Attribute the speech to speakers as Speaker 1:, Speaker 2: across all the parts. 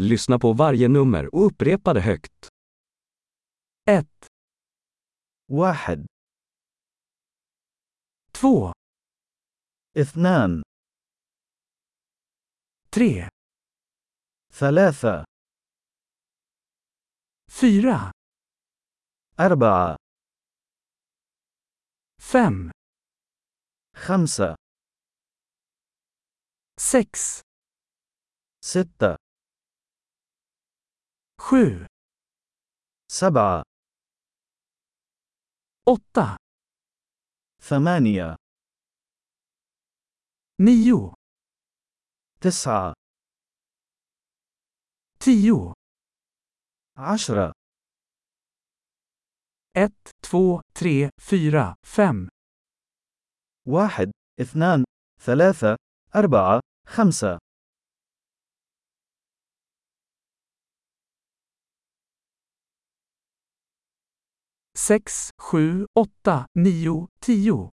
Speaker 1: Lyssna på varje nummer och upprepa det högt. 1,
Speaker 2: واحد
Speaker 1: 2,
Speaker 2: اثنان
Speaker 1: 3,
Speaker 2: ثلاثة
Speaker 1: 4,
Speaker 2: أربعة
Speaker 1: 5,
Speaker 2: خمسة
Speaker 1: 6,
Speaker 2: ستة
Speaker 1: 7,
Speaker 2: سبعة
Speaker 1: 8,
Speaker 2: ثمانية
Speaker 1: 9,
Speaker 2: تسعة
Speaker 1: 10,
Speaker 2: عشرة
Speaker 1: 1, 2, 3, 4, 5,
Speaker 2: واحد اثنان ثلاثة أربعة خمسة
Speaker 1: 6, 7, 8, 9, 10,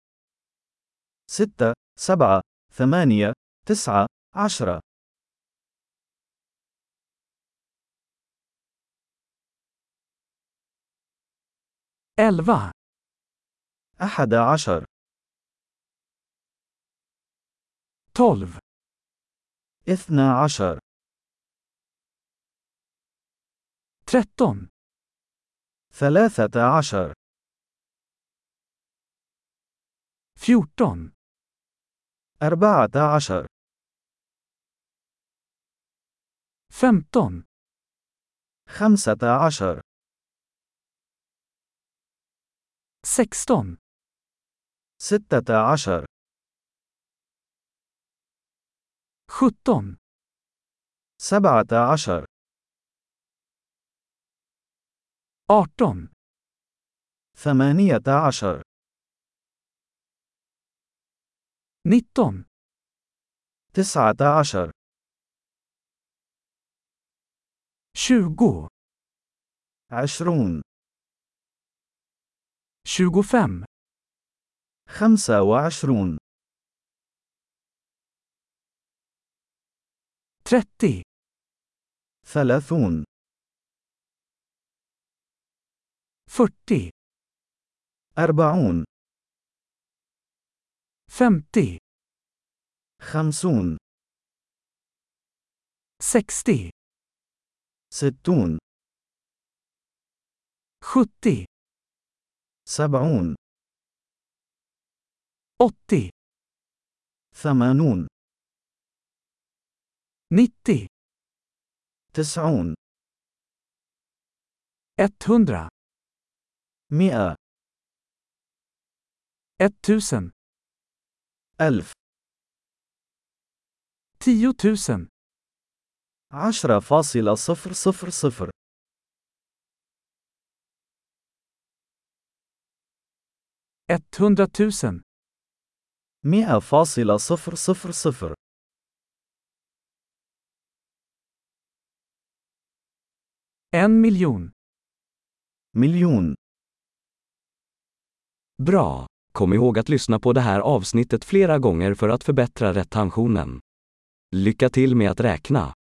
Speaker 2: ستة سبعة ثمانية تسعة عشرة
Speaker 1: 11,
Speaker 2: أحد عشر
Speaker 1: 12,
Speaker 2: اثنا عشر
Speaker 1: 13,
Speaker 2: ثلاثة عشر
Speaker 1: 14,
Speaker 2: أربعة عشر
Speaker 1: 15,
Speaker 2: خمسة عشر
Speaker 1: 16,
Speaker 2: ستة عشر
Speaker 1: 17,
Speaker 2: سبعة عشر
Speaker 1: 18,
Speaker 2: ثمانية عشر
Speaker 1: 19,
Speaker 2: تسعة عشر
Speaker 1: 20,
Speaker 2: عشرون
Speaker 1: 25,
Speaker 2: خمسة وعشرون
Speaker 1: 30,
Speaker 2: ثلاثون
Speaker 1: 40,
Speaker 2: أربعون
Speaker 1: 50,
Speaker 2: خمسون
Speaker 1: 60,
Speaker 2: ستون
Speaker 1: 70,
Speaker 2: سبعون
Speaker 1: 80,
Speaker 2: ثمانون
Speaker 1: 90,
Speaker 2: تسعون
Speaker 1: 100,
Speaker 2: مئة
Speaker 1: 1000,
Speaker 2: ألف
Speaker 1: 10 000.
Speaker 2: عشرة فاصلة صفر صفر صفر
Speaker 1: etthundratusen,
Speaker 2: مئة فاصلة صفر صفر صفر
Speaker 1: en miljon.
Speaker 2: مليون
Speaker 1: Bra! Kom ihåg att lyssna på det här avsnittet flera gånger för att förbättra retentionen. Lycka till med att räkna!